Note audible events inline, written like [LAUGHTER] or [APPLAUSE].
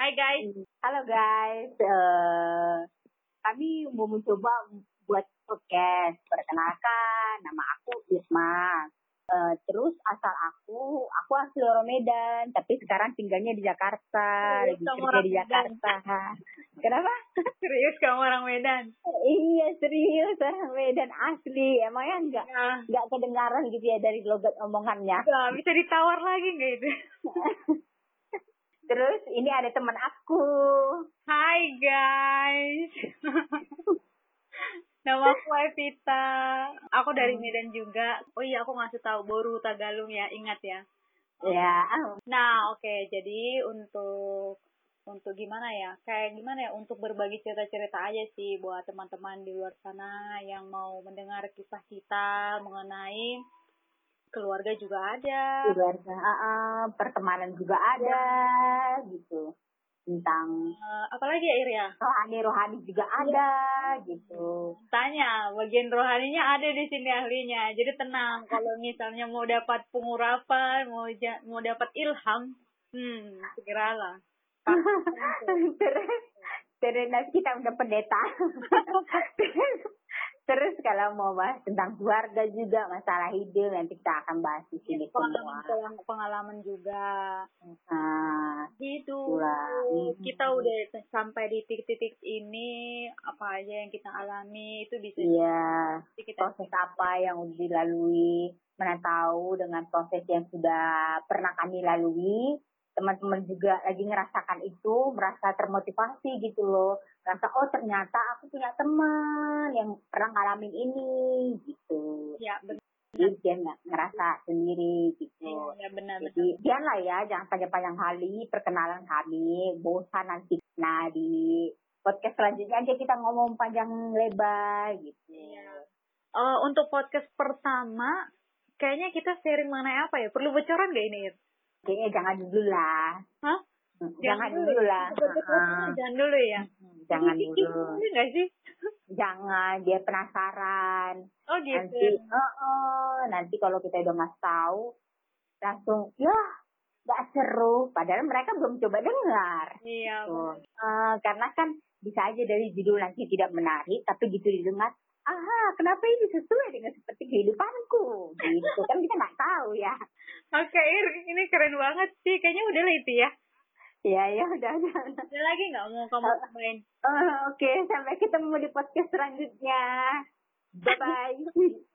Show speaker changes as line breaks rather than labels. Hai guys. [LAUGHS]
Halo guys, Eh, kami mau mencoba buat podcast. Perkenalkan, nama aku Irma. Eh, terus asal aku, aku asli orang Medan, tapi sekarang tinggalnya di Jakarta,
Serius
lagi
kamu
kerja
orang
di
Medan?
Jakarta. [LAUGHS] Kenapa?
Serius kamu orang Medan?
iya serius orang Medan asli, emangnya enggak
Nah,
nggak kedengaran gitu ya dari logat omongannya. [LAUGHS]
nggak bisa ditawar lagi nggak itu? [LAUGHS]
Terus ini ada teman aku.
Hai guys. [LAUGHS] Nama aku Evita. Aku dari Medan juga. Oh iya, aku ngasih tahu Boru Tagalum ya, ingat ya.
Ya, ah,
Nah, oke. Jadi untuk untuk gimana ya? Kayak gimana ya untuk berbagi cerita-cerita aja sih buat teman-teman di luar sana yang mau mendengar kisah kita mengenai keluarga juga ada.
keluarga, ah, ah, pertemanan juga ada gitu. Tentang
Eh, apalagi ya Iria?
rohani-rohani juga ada gitu.
Tanya, bagian rohaninya ada di sini ahlinya. Jadi tenang kalau misalnya mau dapat pengurapan, mau ja- mau dapat ilham, hmm, segeralah.
[LAUGHS] terus terus nanti kita udah pendeta. Terus- terus kalau mau bahas tentang keluarga juga masalah hidup nanti kita akan bahas di sini
Iya,
semua.
Pengalaman, pengalaman juga.
Ah,
gitu
Wah.
kita udah t- sampai di titik-titik ini apa aja yang kita alami itu bisa
iya.
jadi kita
proses apa yang udah dilalui, mana tahu dengan proses yang sudah pernah kami lalui, teman-teman juga lagi ngerasakan itu, merasa termotivasi gitu loh, merasa oh ternyata aku punya teman yang pernah ngalamin ini gitu,
ya benar
jadi dia nggak ngerasa sendiri gitu.
ya benar benar
Jadi janganlah ya, jangan panjang-panjang kali perkenalan kami, bosan nanti. Nah di podcast selanjutnya aja kita ngomong panjang lebar gitu.
Iya. Eh, untuk podcast pertama kayaknya kita sharing mengenai apa ya perlu bocoran gak ini Ir?
Kayaknya jangan dulu lah.
Hah?
Jangan dulu [LAUGHS] lah. Heeh.
jangan dulu ya
Jangan
Dikit-dikit
dulu.
boleh nggak sih
Jangan, dia penasaran.
oh
Nanti,
gitu
heeh, nanti kalau kita udah ngasih tahu, langsung, ya gak seru. Padahal mereka belum coba dengar.
iya
Tuh. Eh, karena kan bisa aja dari judul nanti tidak menarik, tapi gitu didengar, aha, kenapa ini sesuai dengan seperti kehidupanku? Gitu, kan kita nggak tahu ya.
oke Ir ini keren banget sih kayaknya udah lah itu ya
Ya, ya udah, udah.
ada lagi nggak mau kamu
Eh,
main
Oh, Oke, sampai ketemu di podcast selanjutnya. Bye bye.